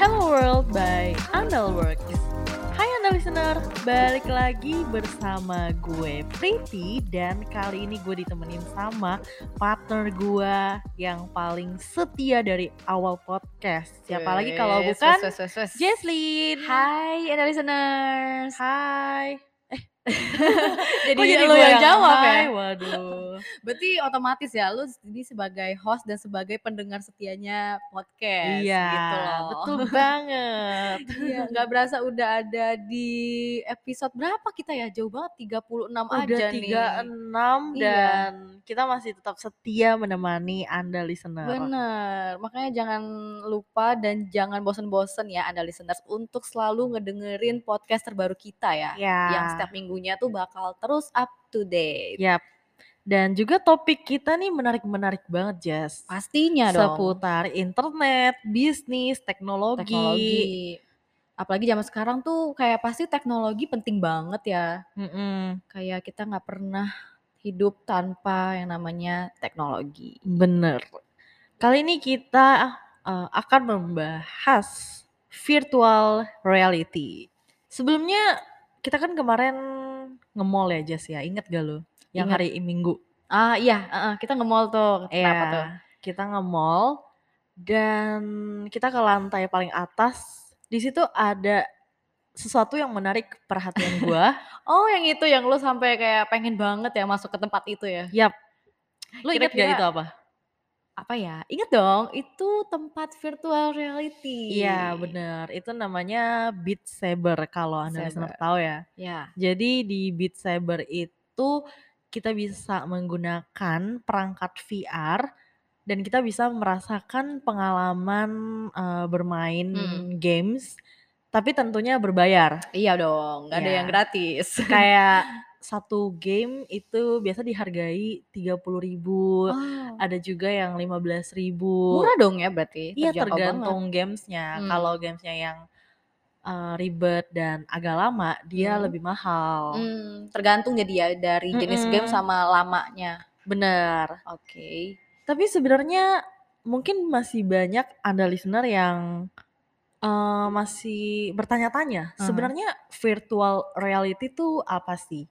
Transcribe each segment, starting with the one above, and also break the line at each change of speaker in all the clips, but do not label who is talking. Hello World by Andalworks Hai Andal Listener, balik lagi bersama gue Priti Dan kali ini gue ditemenin sama partner gue yang paling setia dari awal podcast Siapa lagi kalau
Wes,
bukan
wes, wes, wes.
Jesslyn
Hai, ada listeners.
Hai
Jadi,
Kok
lo
gue
yang jawab
hai?
ya.
Waduh
Berarti otomatis ya lu jadi sebagai host dan sebagai pendengar setianya podcast
Iya,
gitu loh.
betul banget
Iya, nggak berasa udah ada di episode berapa kita ya? Jauh banget 36
udah
aja
36
nih. Iya.
dan kita masih tetap setia menemani Anda listener.
Bener, makanya jangan lupa dan jangan bosen-bosen ya Anda listeners untuk selalu ngedengerin podcast terbaru kita ya.
Ya.
Yang setiap minggunya tuh bakal terus up to date.
Yap. Iya. Dan juga topik kita nih menarik-menarik banget, Jess.
Pastinya dong.
Seputar internet, bisnis, teknologi.
teknologi. Apalagi zaman sekarang tuh kayak pasti teknologi penting banget ya.
Mm-mm,
Kayak kita nggak pernah hidup tanpa yang namanya teknologi.
bener. Kali ini kita eh, akan membahas virtual reality. Sebelumnya kita kan kemarin nge-mall ya, Jess ya. Ingat gak lo? Yang
Ingat.
hari Minggu.
Ah iya, heeh, kita nge-mall tuh. Kenapa
Iya,
tuh?
Kita nge-mall dan kita ke lantai paling atas. Di situ ada sesuatu yang menarik perhatian gua.
Oh yang itu yang lu sampai kayak pengen banget ya masuk ke tempat itu ya.
Yap. Lu inget gak
Kira-kira
itu apa?
Apa ya? Ingat dong, itu tempat virtual reality.
Iya, bener. Itu namanya Beat Saber kalau Anda
Saber.
listener tahu ya.
Ya,
Jadi di Beat Saber itu kita bisa menggunakan perangkat VR dan kita bisa merasakan pengalaman eh, bermain
Mm.
games tapi tentunya berbayar.
iya dong, nggak ada
Iya.
yang gratis.
kayak satu game itu biasa dihargai 30.000 ribu
Oh,
ada juga yang 15.000 ribu
murah dong ya berarti.
iya
terjangkau banget.
tergantung gamesnya
Hmm.
kalau gamesnya yang eh, ribet dan agak lama dia
Hmm.
lebih mahal
Hmm, tergantung jadi ya dari jenis game
Oh. Mm-mm.
sama lamanya.
bener
Oke.
tapi sebenarnya mungkin masih banyak anda listener yang eh, masih bertanya-tanya
Aha.
sebenarnya virtual reality itu apa sih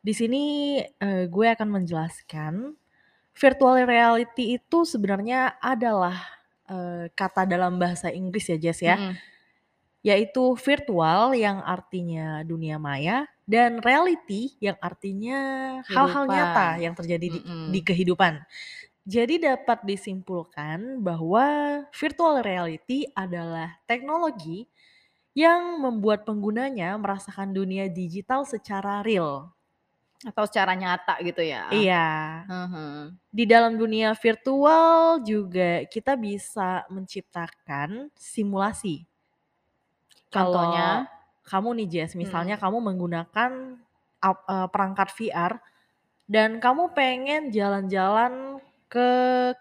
Di sini eh, gue akan menjelaskan virtual reality itu sebenarnya adalah eh, kata dalam bahasa Inggris ya Jess ya,
Mm-mm.
yaitu virtual yang artinya dunia maya dan reality yang artinya hal-hal nyata
Kehidupan. Hmm.
yang terjadi di,
Mm-mm.
di kehidupan. Jadi dapat disimpulkan bahwa virtual reality adalah teknologi yang membuat penggunanya merasakan dunia digital secara real.
Atau secara nyata gitu ya.
Iya.
Mhm.
di dalam dunia virtual juga kita bisa menciptakan simulasi. Kalau
Contohnya?
kamu nih Jess, misalnya kamu menggunakan ap- eh, perangkat VR dan kamu pengen jalan-jalan ke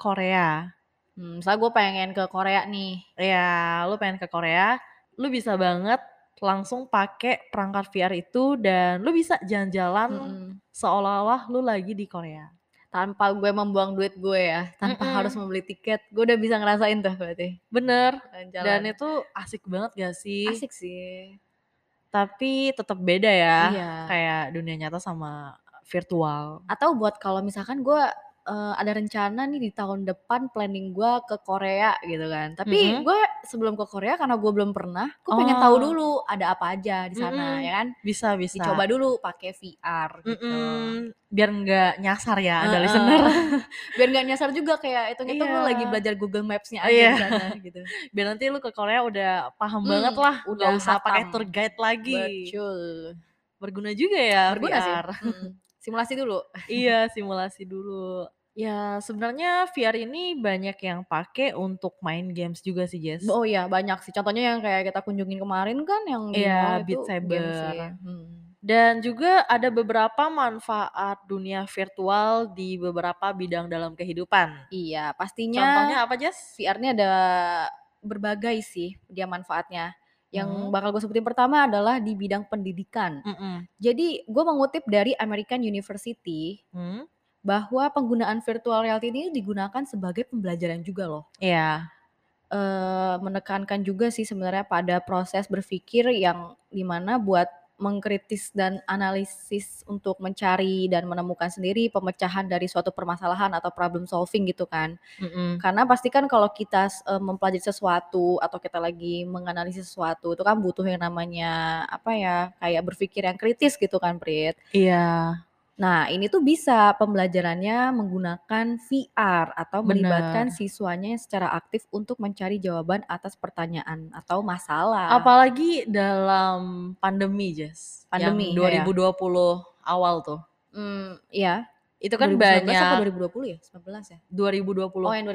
Korea.
Hmm, misalnya gue pengen ke Korea nih.
Ya, lu pengen ke Korea, lu bisa banget langsung pakai perangkat VR itu dan lu bisa jalan-jalan
Mm-mm.
seolah-olah lu lagi di Korea.
Tanpa gue membuang duit gue ya. Tanpa
Mm-mm.
harus membeli tiket. Gue udah bisa ngerasain tuh berarti.
Bener. Dan
Jalan-jalan.
itu asik banget gak sih?
Asik sih.
tapi tetap beda ya
Iya.
kayak dunia nyata sama virtual
Atau buat kalau misalkan gue eh, ada rencana nih di tahun depan planning gue ke Korea gitu kan. Tapi
Mm-mm.
gue sebelum ke Korea karena gue belum pernah, gue pengen tahu
Oh.
dulu ada apa aja di sana
Mm-mm.
ya kan.
bisa bisa
Dicoba dulu pakai VR gitu.
Mm-mm. biar nggak nyasar ya ada
Heeh.
listener
Biar nggak nyasar juga kayak hitung-hitung lu
Iya.
lagi belajar Google Maps-nya aja
Iya.
di sana gitu.
biar nanti lu ke Korea Hmm, udah paham
Mm,
banget lah
udah
nggak usah pakai
hatam.
tour guide lagi
Betul.
berguna juga ya
Berguna sih.
VR
Mm. Simulasi dulu.
iya simulasi dulu ya sebenarnya VR ini banyak yang pakai untuk main games juga sih Jess
Oh iya, banyak sih. Contohnya yang kayak kita kunjungin kemarin kan yang di
Iya,
mall
Beat
itu game
Saber.
sih. Mm.
Dan juga ada beberapa manfaat dunia virtual di beberapa bidang dalam kehidupan.
Iya, pastinya
Contohnya apa, Jess?
VR-nya ada berbagai sih dia manfaatnya. Yang
Mhm.
bakal gue sebutin pertama adalah di bidang pendidikan.
Mm-mm.
Jadi gue mengutip dari American University
Hmm?
bahwa penggunaan virtual reality ini digunakan sebagai pembelajaran juga loh.
Iya.
eh, menekankan juga sih sebenarnya pada proses berpikir yang dimana buat mengkritis dan analisis untuk mencari dan menemukan sendiri pemecahan dari suatu permasalahan atau problem solving gitu kan.
Mm-mm.
Karena pastikan kalau kita eh, mempelajari sesuatu atau kita lagi menganalisis sesuatu itu kan butuh yang namanya apa ya kayak berpikir yang kritis gitu kan Prit.
Iya.
Nah, ini tuh bisa pembelajarannya menggunakan VR atau
Benar.
melibatkan siswanya yang secara aktif untuk mencari jawaban atas pertanyaan atau masalah.
Apalagi dalam pandemi, Jess.
Pandemi,
yang
iya.
2020 awal tuh.
Hmm, iya.
Itu kan
2019
banyak
apa 2020 ya? 19 ya?
2020.
Oh, yang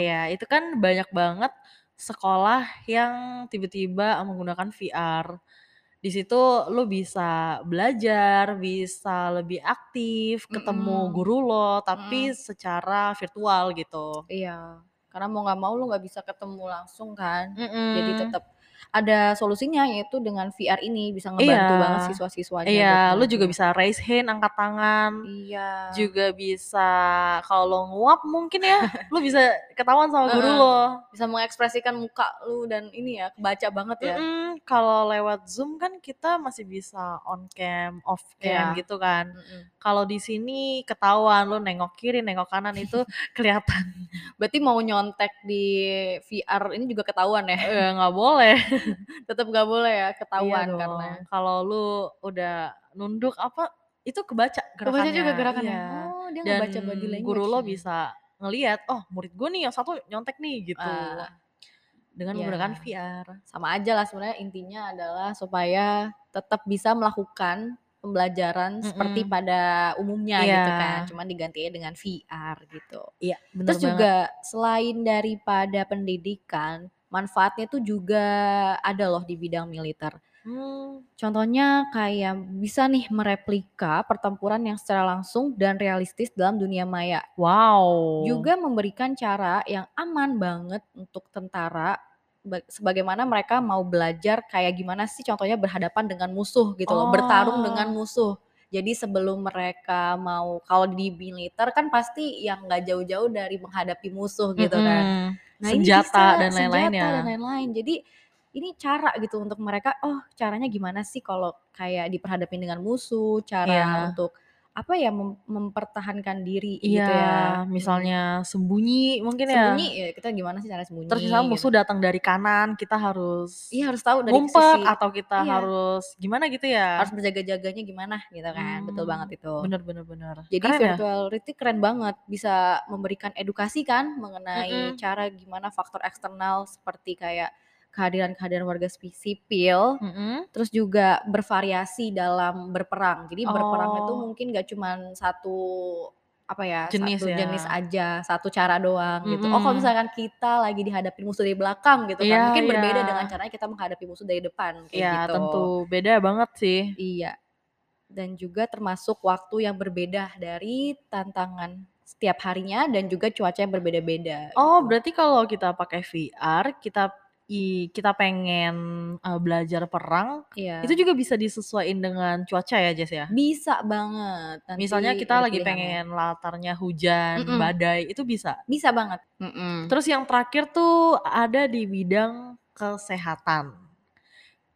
2020.
Iya, itu kan banyak banget sekolah yang tiba-tiba menggunakan VR. Di situ lo bisa belajar, bisa lebih aktif, ketemu
Mm-mm.
guru lo, tapi secara virtual gitu.
Iya. Karena mau nggak mau lu nggak bisa ketemu langsung kan. Jadi
Mm-mm.
tetap ada solusinya yaitu dengan VR ini bisa ngebantu
Iya.
banget siswa-siswanya.
Iya,
buat
lo juga
belajar.
bisa raise hand, angkat tangan,
Iya.
juga bisa kalau lo nguap mungkin ya, lo bisa ketahuan sama guru
Heeh.
lo.
Bisa mengekspresikan muka lu dan ini ya, kebaca banget ya.
Mm-mm, Kalau lewat Zoom kan kita masih bisa on cam, off cam
Iya.
gitu kan.
Mm-mm.
Kalau di sini ketahuan lo nengok kiri, nengok kanan itu kelihatan
Berarti mau nyontek di VR ini juga ketahuan ya?
Eh, nggak boleh.
Iya Tetap nggak boleh ya
Iya
ketahuan
dong.
karena
kalau lo udah nunduk apa itu kebaca gerakannya.
kebaca juga gerakannya.
Iya.
Oh, dia
Dan
ngebaca body language.
guru lo
ya.
bisa ngelihat, oh murid gue nih yang satu nyontek nih gitu.
Ah,
Dengan
iya.
menggunakan VR.
sama aja lah sebenarnya intinya adalah supaya tetap bisa melakukan pembelajaran seperti
Mm-mm.
pada umumnya gitu
Iya.
kan, cuman digantinya dengan VR gitu.
Iya, bener
Terus
banget.
juga selain daripada pendidikan, manfaatnya tuh juga ada loh di bidang militer.
Hmm,
Contohnya kayak bisa nih mereplika pertempuran yang secara langsung dan realistis dalam dunia maya.
wow.
Juga memberikan cara yang aman banget untuk tentara ba- sebagaimana mereka
Hmm.
mau belajar kayak gimana sih contohnya berhadapan dengan musuh gitu loh, bertarung dengan
Oh.
musuh. Jadi sebelum mereka mau kalau di militer kan pasti yang nggak jauh-jauh dari menghadapi musuh gitu kan.
Mm-mm.
Nah,
senjata
ini bisa,
dan lain-lain
senjata
ya.
dan lain-lain. Jadi ini cara gitu untuk mereka, oh caranya gimana sih kalau kayak diperhadapin dengan musuh, cara
Iya.
untuk apa ya mem- mempertahankan
Iya,
diri gitu ya.
misalnya sembunyi
Hmm.
mungkin
sembunyi
ya.
ya kita gimana sih cara sembunyi?
Terus misalnya musuh
gitu.
datang dari kanan, kita harus
Iya harus tahu dari
ngumpet
sisi
atau kita
Iya.
harus gimana gitu ya.
harus berjaga-jaganya gimana gitu kan. Betul
Hmm,
banget itu.
Bener bener bener.
Jadi
Keren ya?
virtual reality keren banget bisa memberikan edukasi kan mengenai
Mm-mm.
cara gimana faktor eksternal seperti kayak kehadiran-kehadiran warga spi- sipil
Mm-mm.
terus juga bervariasi dalam berperang. Jadi berperang itu
Oh.
mungkin gak cuman satu apa ya
Jenis
satu
ya.
jenis aja, satu cara doang gitu. Oh kalau
Mm-mm.
misalkan kita lagi dihadapi musuh dari belakang gitu
Iya,
kan, mungkin berbeda
iya.
dengan caranya kita menghadapi musuh dari depan kayak
Iya,
gitu.
tentu beda banget sih.
Iya. Dan juga termasuk waktu yang berbeda dari tantangan setiap harinya dan juga cuaca yang berbeda-beda.
Oh,
gitu.
berarti kalau kita pakai VR, kita i- kita pengen eh, belajar perang,
Iya.
itu juga bisa disesuaikan dengan cuaca ya, Jess ya.
bisa banget. Nanti
Misalnya kita
ada
lagi
pilihannya.
pengen latarnya hujan,
Mm-mm.
badai, itu bisa.
Bisa banget. Mm-mm.
Terus yang terakhir tuh ada di bidang kesehatan.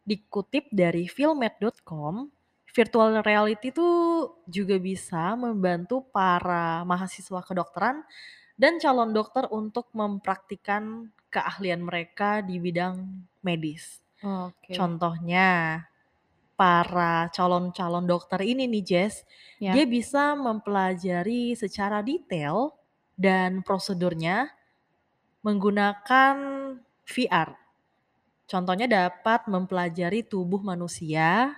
Dikutip dari filmed.com, virtual reality tuh juga bisa membantu para mahasiswa kedokteran dan calon dokter untuk mempraktikkan keahlian mereka di bidang medis.
Oke.
Contohnya, para calon-calon dokter ini nih Jess,
Ya.
dia bisa mempelajari secara detail dan prosedurnya menggunakan VR. Contohnya dapat mempelajari tubuh manusia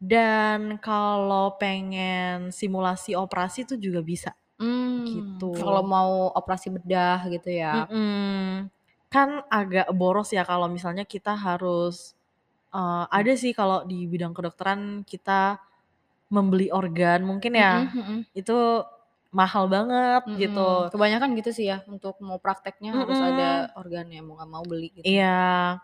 dan kalau pengen simulasi operasi itu juga bisa.
Hmm,
Gitu. Hmm,
Kalau mau operasi bedah gitu ya.
Mm-mm. Kan agak boros ya kalau misalnya kita harus eh, ada sih kalau di bidang kedokteran kita membeli organ mungkin ya
Mm-mm, mm-mm,
itu mahal banget
mm-mm.
gitu. Hmm,
Kebanyakan gitu sih ya untuk mau prakteknya harus
Mm-mm.
ada organ yang mau nggak mau beli gitu.
Iya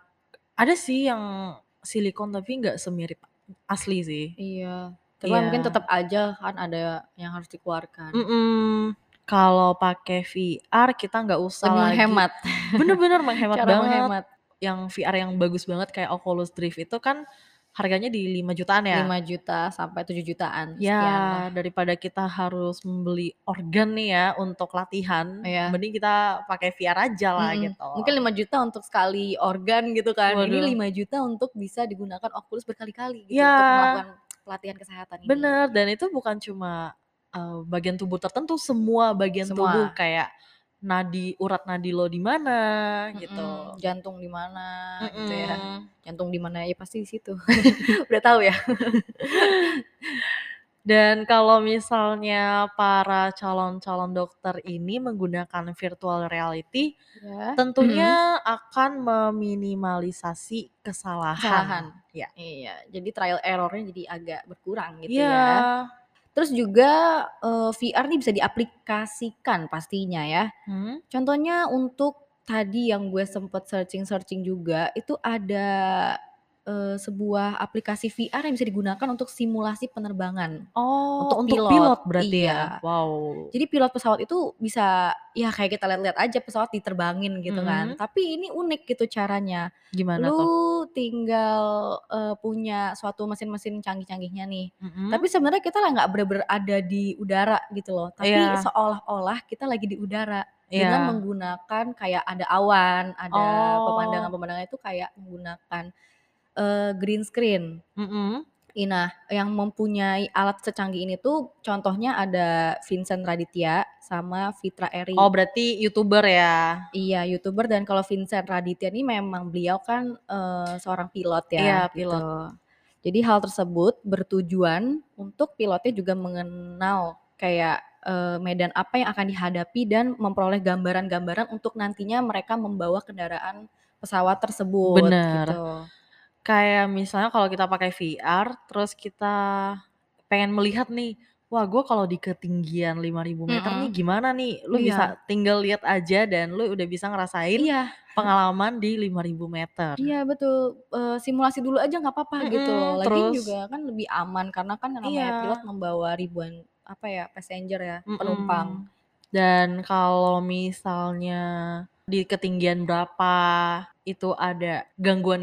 Ada sih yang silikon tapi nggak semirip asli sih.
Iya. Tapi
Iya.
mungkin
Hmm,
tetap aja kan ada yang harus dikeluarkan.
Mm-mm. Kalau pakai VR kita nggak usah
Lebih
lagi.
menghemat.
Bener-bener menghemat
Cara
banget.
menghemat.
Yang VR yang bagus banget kayak Oculus Drift itu kan harganya di 5 jutaan ya.
5 juta sampai 7 jutaan.
Ya,
sekian lah.
daripada kita harus membeli organ nih ya untuk latihan,
Iya.
mending kita pakai VR aja lah
Mm-mm.
gitu.
Hmm, Mungkin 5 juta untuk sekali organ gitu kan.
Waduh.
Ini 5 juta untuk bisa digunakan Oculus berkali-kali gitu
Iya.
untuk melakukan pelatihan kesehatan ini.
Bener, dan itu bukan cuma uh, bagian tubuh tertentu, semua bagian
Semua.
tubuh kayak nadi urat nadi lo di mana gitu.
Mm-mm. Jantung di mana gitu ya.
Mm-mm.
Jantung di mana ya pasti di situ. Udah tahu ya.
Dan kalau misalnya para calon-calon dokter ini menggunakan virtual reality,
Ya.
tentunya akan meminimalisasi kesalahan.
Kesalahan.
Ya.
Iya, jadi trial errornya jadi agak berkurang gitu
Iya.
ya. Terus juga eh, VR ini bisa diaplikasikan pastinya ya.
Hmm?
Contohnya untuk tadi yang gue sempet searching-searching juga itu ada eh, sebuah aplikasi VR yang bisa digunakan untuk simulasi penerbangan.
Oh,
Untuk
untuk, pilot.
pilot
berarti
iya.
ya. Wow.
Jadi pilot pesawat itu bisa ya kayak kita lihat-lihat aja pesawat diterbangin gitu kan.
Mhm.
Tapi ini unik gitu caranya.
Gimana
Lu
tuh?
tinggal eh, punya suatu mesin-mesin canggih-canggihnya nih.
Mm-mm.
Tapi sebenarnya kita lah nggak bener-bener ada di udara gitu loh. Tapi
Iya.
seolah-olah kita lagi di udara
Iya.
dengan menggunakan kayak ada awan, ada
Oh.
pemandangan-pemandangan itu kayak menggunakan eh, green screen. hmm?
Mm-mm.
Ina yang mempunyai alat secanggih ini tuh contohnya ada Vincent Raditya sama Fitra Eri.
Oh, berarti YouTuber ya.
Iya, YouTuber dan kalau Vincent Raditya ini memang beliau kan eh, seorang pilot ya.
Iya,
gitu.
pilot.
Jadi hal tersebut bertujuan untuk pilotnya juga mengenal kayak eh, medan apa yang akan dihadapi dan memperoleh gambaran-gambaran untuk nantinya mereka membawa kendaraan pesawat tersebut
Bener.
gitu.
kayak misalnya kalau kita pakai VR terus kita pengen melihat nih wah gue kalau di ketinggian 5000 meter
Mm-mm.
nih gimana nih lu
Iya.
bisa tinggal lihat aja dan lu udah bisa ngerasain
Iya,
pengalaman di 5000 meter
Iya betul Eh, simulasi dulu aja nggak apa-apa gitu
Mm-mm,
loh. Lagi
terus-
juga kan lebih aman karena kan yang namanya
Iya.
pilot membawa ribuan apa ya passenger ya
Mm-mm.
penumpang.
dan kalau misalnya di ketinggian berapa itu ada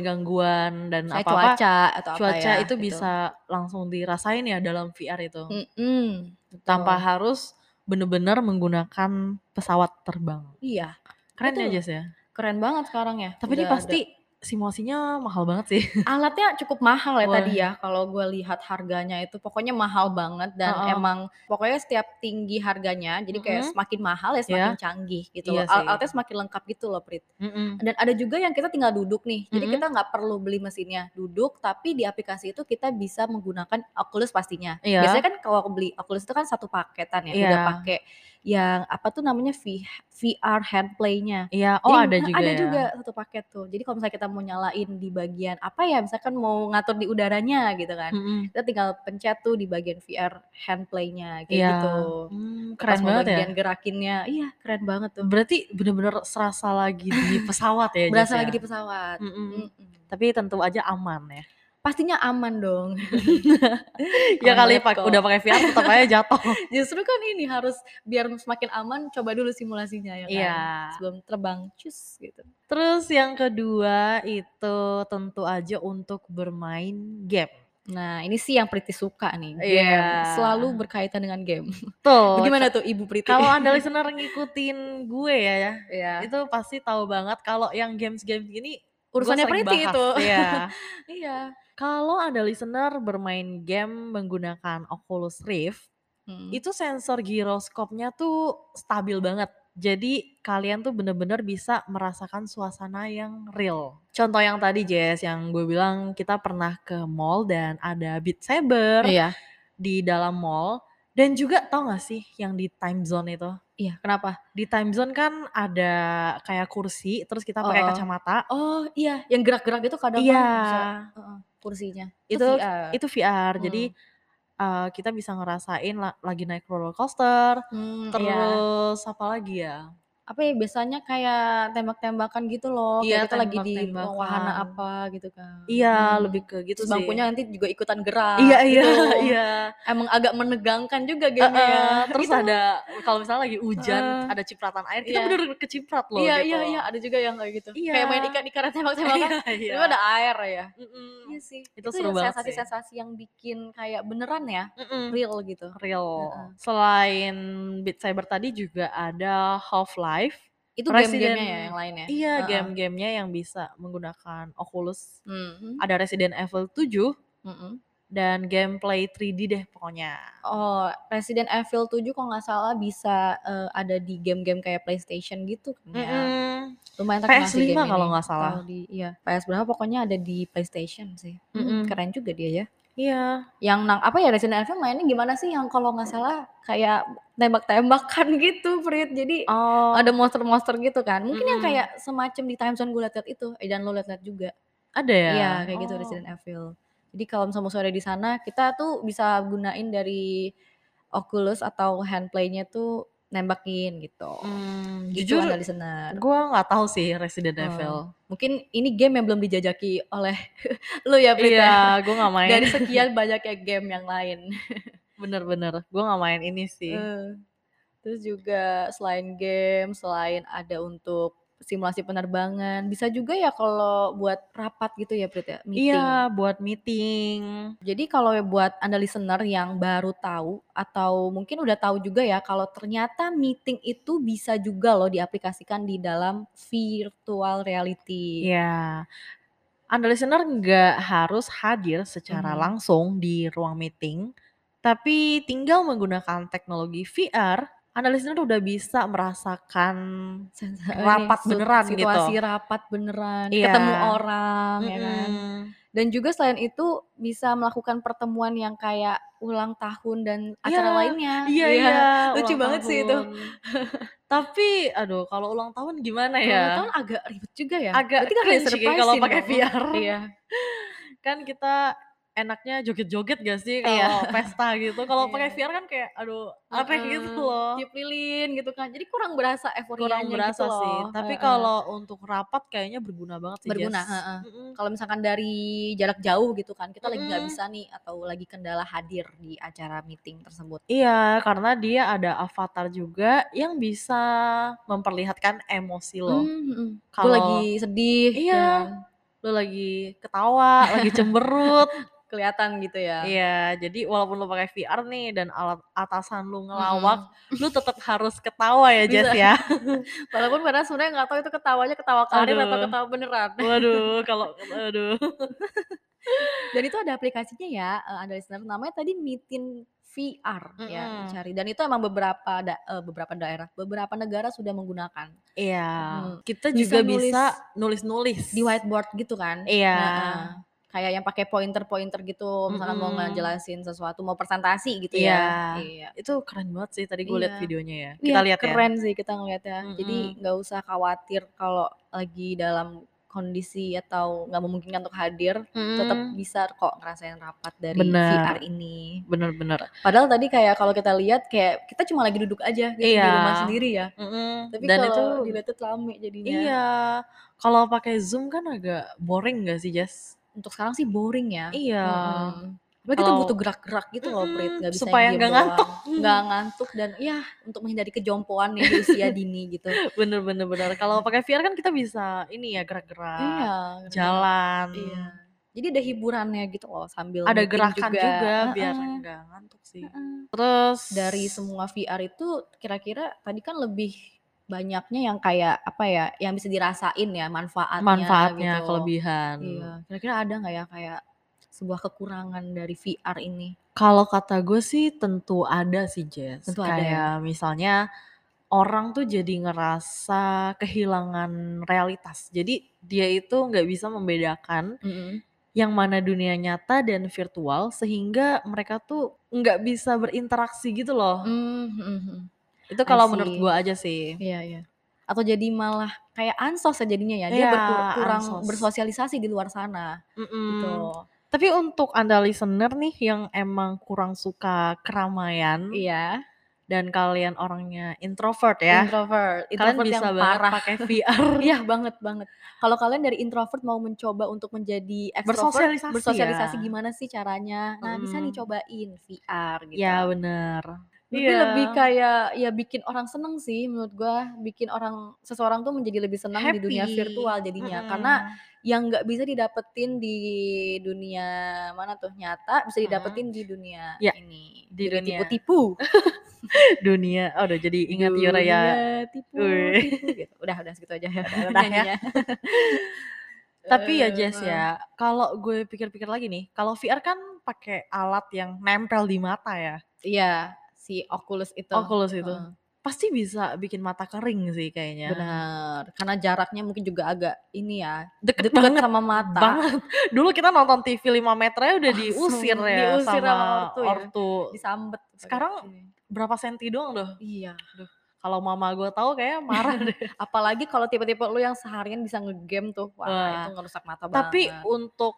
gangguan-gangguan dan
Kayak
apa-apa
cuaca atau apa
cuaca
ya,
itu
gitu. Hmm.
bisa langsung dirasain ya dalam VR itu
Mm-mm, betul.
tanpa harus bener-bener menggunakan pesawat terbang.
Iya
Keren ya
Betul.
Jess ya.
keren banget sekarang ya.
Tapi ini
Udah
pasti simulasinya mahal banget sih.
ada- alatnya cukup mahal ya
Wah.
tadi ya. Kalau gue lihat harganya itu pokoknya mahal banget dan
Uh-uh.
emang pokoknya setiap tinggi harganya jadi kayak
Mm-mm.
semakin mahal ya semakin canggih gitu.
Iya
loh. Al-
sih.
Alatnya semakin lengkap gitu loh Prit.
Mm-mm.
dan ada juga yang kita tinggal duduk nih jadi
Mm-mm.
kita nggak perlu beli mesinnya duduk tapi di aplikasi itu kita bisa menggunakan Oculus pastinya
Iya.
biasanya kan kalau aku beli Oculus itu kan satu paketan ya
Iya.
udah pakai yang apa tuh namanya V- VR handplay-nya
Iya, oh ada
Jadi, nah,
juga
ada
ya.
juga satu paket tuh jadi kalau misalnya kita mau nyalain di bagian apa ya misalkan mau ngatur di udaranya gitu kan
Mm-mm.
kita tinggal pencet tuh di bagian VR handplay-nya kayak
Iya.
gitu
Hmm,
Pas
keren
mau
banget ya.
bagian gerakinnya iya keren banget tuh
Berarti bener-bener serasa lagi di pesawat ya Jess
berasa
ya?
lagi di pesawat
Mm-mm.
Mm-mm.
Tapi tentu aja aman ya.
pastinya aman dong.
ya
Aman
kali
banget
pak
kok.
ya, udah pakai VR tetap aja jatuh.
Justru kan ini harus biar semakin aman coba dulu simulasinya ya kan.
Iya.
Sebelum terbang cus gitu.
Terus yang kedua itu tentu aja untuk bermain game.
Nah, ini sih yang Priti suka nih, game. Oh,
Iya.
Selalu berkaitan dengan game.
Tuh.
Bagaimana tuh Ibu Priti?
Kalau anda listener ngikutin gue ya, ya,
Iya.
itu pasti tahu banget kalau yang games-games gini
Urusannya
gue sering
Priti
bahas,
itu.
Iya.
Iya.
kalau anda listener bermain game menggunakan Oculus Rift,
Hmm.
itu sensor giroskopnya tuh stabil banget. Jadi kalian tuh bener-bener bisa merasakan suasana yang real. Contoh yang tadi Jess, yang gue bilang kita pernah ke mall dan ada Beat Saber
Iya.
di dalam mall. Dan juga tau gak sih yang di time zone itu?
Iya, kenapa?
di time zone kan ada kayak kursi terus kita pakai
Oh.
kacamata
Oh, iya, yang gerak-gerak itu kadang
iya
kan bisa uh-uh, kursinya.
itu
VR.
itu VR
Hmm.
jadi uh, kita bisa ngerasain la- lagi naik roller coaster
Hmm, iya.
terus apa lagi ya
apa ya biasanya kayak tembak-tembakan gitu loh
Iya,
kayak kita lagi di
tembak-tembakan.
wahana apa gitu kan
Iya,
Hmm.
lebih ke gitu
Terus
sih.
bangkunya nanti juga ikutan gerak
Iya, iya,
gitu.
iya.
emang agak menegangkan juga
Eh,
gamenya
eh, terus ada kalau misalnya lagi hujan,
Heeh.
ada cipratan air, kita
Iya.
bener bener keciprat loh
iya
gitu.
iya iya ada juga yang kayak gitu
Iya.
kayak main ikan ikanan tembak-tembakan
Iya, iya.
itu ada air ya
Mm-mm.
iya sih
Itu seru
yang
banget sih.
sensasi-sensasi yang bikin kayak beneran ya
Mm-mm.
real gitu
Real.
Heeh.
Selain Beat Saber tadi juga ada Half-Life.
itu
Resident-
game-gamenya ya yang lain ya
Iya,
Heeh.
game-gamenya yang bisa menggunakan Oculus.
Hmm.
Ada Resident Evil 7
Mm-mm.
dan gameplay 3D deh pokoknya.
Oh, Resident Evil 7 kalau nggak salah bisa eh, ada di game-game kayak PlayStation gitu kan ya.
Mm-mm.
Lumayan
PS5
terkenal sih game ini.
kalau nggak salah.
Kalau di- iya, PS berapa pokoknya ada di PlayStation sih. Hmm,
Mm-mm.
Keren juga dia ya.
Iya.
Yang nang apa ya Resident Evil mainnya gimana sih yang kalau nggak salah kayak tembak-tembakan gitu, Prit. Jadi
Oh, ada
ada monster-monster gitu kan. Mungkin yang
Mm-mm.
kayak semacam di Time Zone gue liat-liat itu. Eh, dan lo liat-liat juga.
ada ya?
Iya kayak gitu
Oh.
Resident Evil. Jadi kalau misalnya mau sore di sana kita tuh bisa gunain dari Oculus atau handplaynya tuh nembakin gitu.
Hmm,
Gitu
jujur
ada listener.
gue nggak tahu sih Resident
Hmm.
Evil.
Mungkin ini game yang belum dijajaki oleh lu ya Prita.
Iya, gue nggak main.
Dari sekian banyaknya game yang lain.
Bener-bener, gue nggak main ini sih.
Eh, Terus juga selain game, selain ada untuk simulasi penerbangan, bisa juga ya kalau buat rapat gitu ya Prita, meeting.
Iya, buat meeting.
Jadi kalau buat Anda listener yang baru tahu atau mungkin udah tahu juga ya kalau ternyata meeting itu bisa juga loh diaplikasikan di dalam virtual reality.
Iya. Anda listener nggak harus hadir secara
Mhm.
langsung di ruang meeting, tapi tinggal menggunakan teknologi VR, Anda listener udah bisa merasakan
Sensa- ini
Rapat
su-
beneran gitu.
Situasi rapat beneran,
Iya.
ketemu orang ya kan.
Mm-mm.
Dan juga selain itu bisa melakukan pertemuan yang kayak ulang tahun dan acara
Iya,
lainnya.
Iya, iya.
Lucu
ulang
banget sih itu.
tahun. tapi aduh, kalau ulang tahun gimana
Kalau
ya?
ulang tahun agak ribet juga ya.
Agak
Berarti kan ada yang
cringe sih
surprisein
kalau pakai
dong.
VR.
Iya.
kan kita enaknya joget-joget gak sih
Iya.
kalau pesta gitu kalau
Iya.
pakai VR kan kayak aduh aneh
Heeh.
gitu loh
tiup lilin gitu kan jadi kurang berasa euforianya
kurang berasa
gitu
sih
loh.
tapi
Heeh.
kalau untuk rapat kayaknya berguna banget sih
Berguna,
Jess.
heeh.
Mm-mm.
kalau misalkan dari jarak jauh gitu kan kita lagi nggak
Mm-mm.
bisa nih atau lagi kendala hadir di acara meeting tersebut Gitu
iya karena dia ada avatar juga yang bisa memperlihatkan emosi lo
Mm, mm. Lu
Mm-hmm, Kalau-
lagi sedih
Iya.
ya,
lo lagi ketawa lagi cemberut
kelihatan gitu ya
iya jadi walaupun lo pakai VR nih dan alat atasan lo
Mm-hmm.
ngelawak lo tetap harus ketawa ya Jess
Hmm. Bisa.
ya
Mm. walaupun padahal sebenarnya nggak tahu itu ketawanya ketawa karir atau
Aduh.
ketawa beneran
waduh kalau aduh
dan itu ada aplikasinya ya eh, ada listener namanya tadi meeting VR ya
Mm-mm.
cari dan itu emang beberapa da- eh, beberapa daerah beberapa negara sudah menggunakan
Iya,
Mm.
kita
Bisa
juga bisa nulis-nulis
di whiteboard gitu kan.
Iya.
Nah, eh, kayak yang pakai pointer-pointer gitu, misalkan mau
Mm-mm.
ngejelasin sesuatu, mau presentasi gitu
Iya.
ya. Iya.
Itu keren banget sih tadi gue liat
Iya.
videonya ya.
Iya,
Kita lihat ya.
keren sih kita ngeliatnya. Jadi
Mm-mm.
nggak usah khawatir kalau lagi dalam kondisi atau nggak memungkinkan untuk hadir, tetap
Mm-mm.
bisa kok ngerasain rapat dari
Mm. Benar.
VR ini.
bener-bener.
Padahal tadi kayak kalau kita lihat kayak kita cuma lagi duduk aja gitu di
Iya.
rumah sendiri ya.
Mm-mm.
Tapi
Hmm, Dan itu
kalau dilihat tuh rame jadinya.
iya. Kalau pakai Zoom kan agak boring gak sih, Jess?
Untuk sekarang sih boring ya.
Iya.
Mm-mm. Apalagi kita
Kalau-
butuh gerak-gerak gitu loh, Prit.
Mm-mm,
Gak bisa
supaya
yang diem
nggak
doang.
ngantuk.
Nggak ngantuk dan ya untuk menghindari kejompoan nih di usia dini gitu.
Bener-bener benar. Kalau pakai VR kan kita bisa ini ya gerak-gerak,
iya.
jalan.
Iya. Jadi ada hiburannya gitu loh sambil
Ada
meeting
gerakan juga, biar
Heeh,
nggak ngantuk sih.
heeh.
Terus
Dari semua VR itu kira-kira tadi kan lebih banyaknya yang kayak apa ya, yang bisa dirasain ya manfaatnya.
manfaatnya
gitu.
kelebihan.
Iya. Kira-kira ada nggak ya kayak sebuah kekurangan dari VR ini?
Kalau kata gue sih tentu ada sih Jess.
Tentu ada ya.
Kayak misalnya orang tuh jadi ngerasa kehilangan realitas. Jadi dia itu nggak bisa membedakan
Mm-mm.
yang mana dunia nyata dan virtual sehingga mereka tuh nggak bisa berinteraksi gitu loh.
Mm-mm.
Itu kalau
Hmm, I
menurut
see.
gue aja sih.
Hmm, Iya iya. Atau jadi malah kayak ansos ya jadinya ya. Dia
Iya,
berkur- kurang
ansos. Hmm.
bersosialisasi di luar sana
Mm-mm.
gitu.
Tapi untuk anda listener nih yang emang kurang suka keramaian
Iya.
dan kalian orangnya introvert ya. kalian
Introvert, Iya, introvert
bisa
yang
banget
parah.
pakai VR.
Iya banget banget. Kalau kalian dari introvert mau mencoba untuk menjadi extrovert,
Bersosialisasi ya.
bersosialisasi gimana sih caranya? Nah bisa
Mm.
nih cobain VR gitu.
ya bener.
Tapi
Iya.
lebih kayak ya bikin orang seneng sih menurut gua, bikin orang seseorang tuh menjadi lebih senang di dunia
Happy.
virtual jadinya.
Mm-mm.
Karena yang nggak bisa didapetin di dunia mana tuh nyata bisa didapetin di dunia
Ya,
ini.
di
Jadi
dunia.
tipu-tipu.
dunia, oh, udah jadi ingat
Dunia
Yura ya.
Iya, tipu,
Wih.
tipu gitu. Udah, udah segitu aja ya.
udah ya.
nyanyinya.
Tapi ya
Eh,
Jess ya, kalau gue pikir-pikir lagi nih, kalau VR kan pakai alat yang nempel di mata ya,
Iya, si Oculus itu. Eh,
Oculus itu. Ya.
Heeh,
Pasti bisa bikin mata kering sih kayaknya.
Benar. Karena jaraknya mungkin juga agak ini ya,
Deket,
deket
banget
sama mata.
banget. Dulu kita nonton TV 5 meter aja udah
Langsung
diusir ya sama,
diusir sama ortu ya.
ortu.
Disambet.
Sekarang Berapa senti doang doh?
Iya.
Kalau mama gue tahu kayaknya marah deh.
Apalagi kalau tipe-tipe lu yang seharian bisa ngegame tuh. Wah,
Wah.
itu ngerusak mata
Tapi
banget.
untuk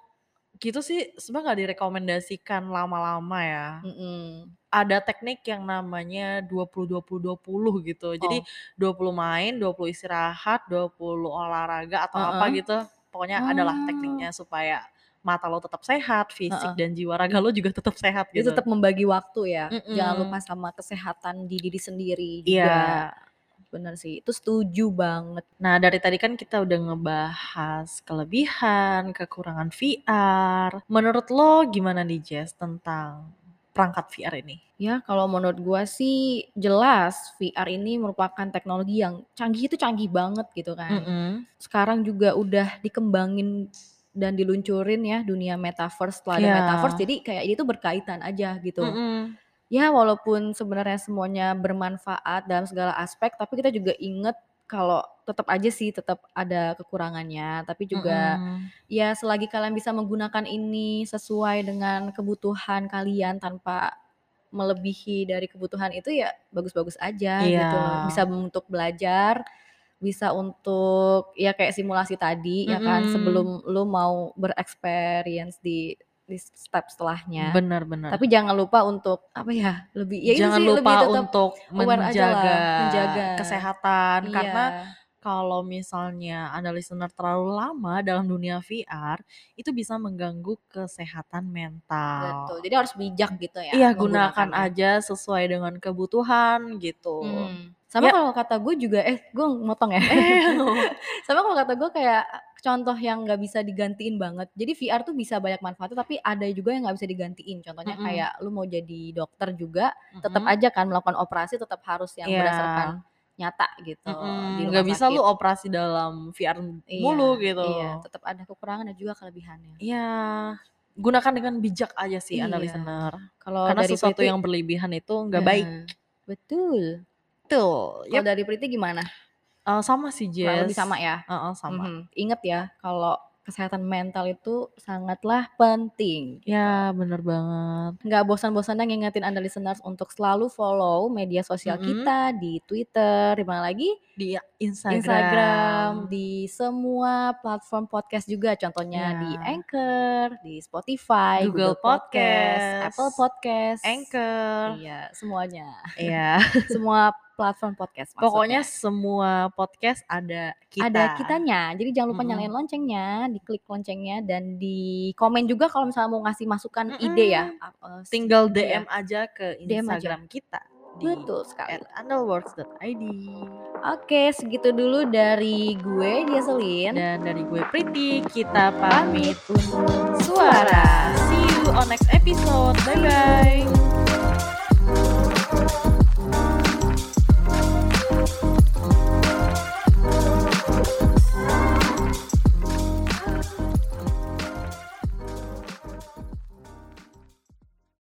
gitu sih sebenarnya nggak direkomendasikan lama-lama ya.
Mm-mm.
Ada teknik yang namanya 20-20-20 gitu. Jadi
Oh.
20 main, 20 istirahat, 20 olahraga atau apa
Uh-uh.
gitu. Pokoknya adalah
Ah.
tekniknya supaya mata lo tetap sehat, fisik
Uh-uh.
dan jiwa raga lo juga tetap sehat
Dia
gitu.
tetap membagi waktu ya.
Mm-mm.
Jangan lupa sama kesehatan di diri sendiri juga.
Iya.
Bener sih. Itu setuju banget.
Nah, dari tadi kan kita udah ngebahas kelebihan, kekurangan VR. Menurut lo gimana nih Jess tentang perangkat VR ini?
Ya, kalau menurut gua sih jelas VR ini merupakan teknologi yang canggih itu canggih banget gitu kan.
Mm-mm.
Sekarang juga udah dikembangin dan diluncurin ya dunia metaverse setelah ada
Ya.
metaverse jadi kayak ini tuh berkaitan aja gitu.
Mm-mm.
Ya, walaupun sebenarnya semuanya bermanfaat dalam segala aspek, tapi kita juga inget kalau tetap aja sih tetap ada kekurangannya, tapi juga
Mm-mm.
ya selagi kalian bisa menggunakan ini sesuai dengan kebutuhan kalian tanpa melebihi dari kebutuhan itu ya bagus-bagus aja
Iya.
gitu bisa untuk belajar bisa untuk ya kayak simulasi tadi ya kan
Mm-mm.
sebelum lu mau bereksperience di di step setelahnya
benar-benar.
tapi jangan lupa untuk apa ya lebih ya itu
Jangan
sih,
lupa
lebih tetap
untuk
aware aja lah,
menjaga,
menjaga.
kesehatan karena
iya.
kalau misalnya Anda listener terlalu lama dalam dunia VR, itu bisa mengganggu kesehatan mental.
betul jadi harus bijak gitu ya
Iya gunakan
menggunakannya.
aja sesuai dengan kebutuhan gitu.
Mm.
Ya.
Sama
Eh,
kalau kata gue juga, eh gue motong ya. Sama kalau kata gue kayak contoh yang nggak bisa digantiin banget. Jadi VR tuh bisa banyak manfaatnya, tapi ada juga yang nggak bisa digantiin. Contohnya
Mm-mm.
kayak lu mau jadi dokter juga, tetap
Mm-mm.
aja kan melakukan operasi tetap harus yang
Iya.
berdasarkan nyata gitu.
Mm-mm,
di rumah
nggak bisa
sakit.
lu operasi dalam VR
Iya,
mulu gitu.
Iya, tetap ada kekurangan dan juga kelebihannya.
Iya. Gunakan dengan bijak aja sih Anda
Iya.
listener.
Kalau
Karena
dari Iya.
sesuatu
Priti-
yang berlebihan itu nggak baik. Ya
Heeh. Betul.
Tuh.
Kalau dari Priti gimana?
sama sih Jess.
Kurang lebih sama ya.
Uh-uh, sama.
Mhm. Ingat ya kalau kesehatan mental itu sangatlah penting.
Ya bener banget.
Nggak bosan-bosannya ngingetin anda listeners untuk selalu follow media sosial
Mhm.
kita di Twitter, di mana lagi?
Di Instagram.
Instagram, di semua platform podcast juga. Contohnya
Ya.
di Anchor, di Spotify,
Google Podcast,
Apple Podcast,
Anchor.
Iya, semuanya.
Iya.
semua platform podcast. maksudnya.
Pokoknya semua podcast ada kita.
ada kitanya. Jadi jangan lupa
Mm-mm.
nyalain loncengnya, diklik loncengnya dan di komen juga kalau misalnya mau ngasih masukan ide ya. Ap- eh, s-
Tinggal
ide ya.
DM aja ke
DM aja.
Instagram kita di
Betul sekali.
at underworks.id.
Oke, segitu dulu dari gue Jesselyn.
Dan dari gue Priti, kita pamit
Pamit undur
suara. See you on next episode. Bye bye.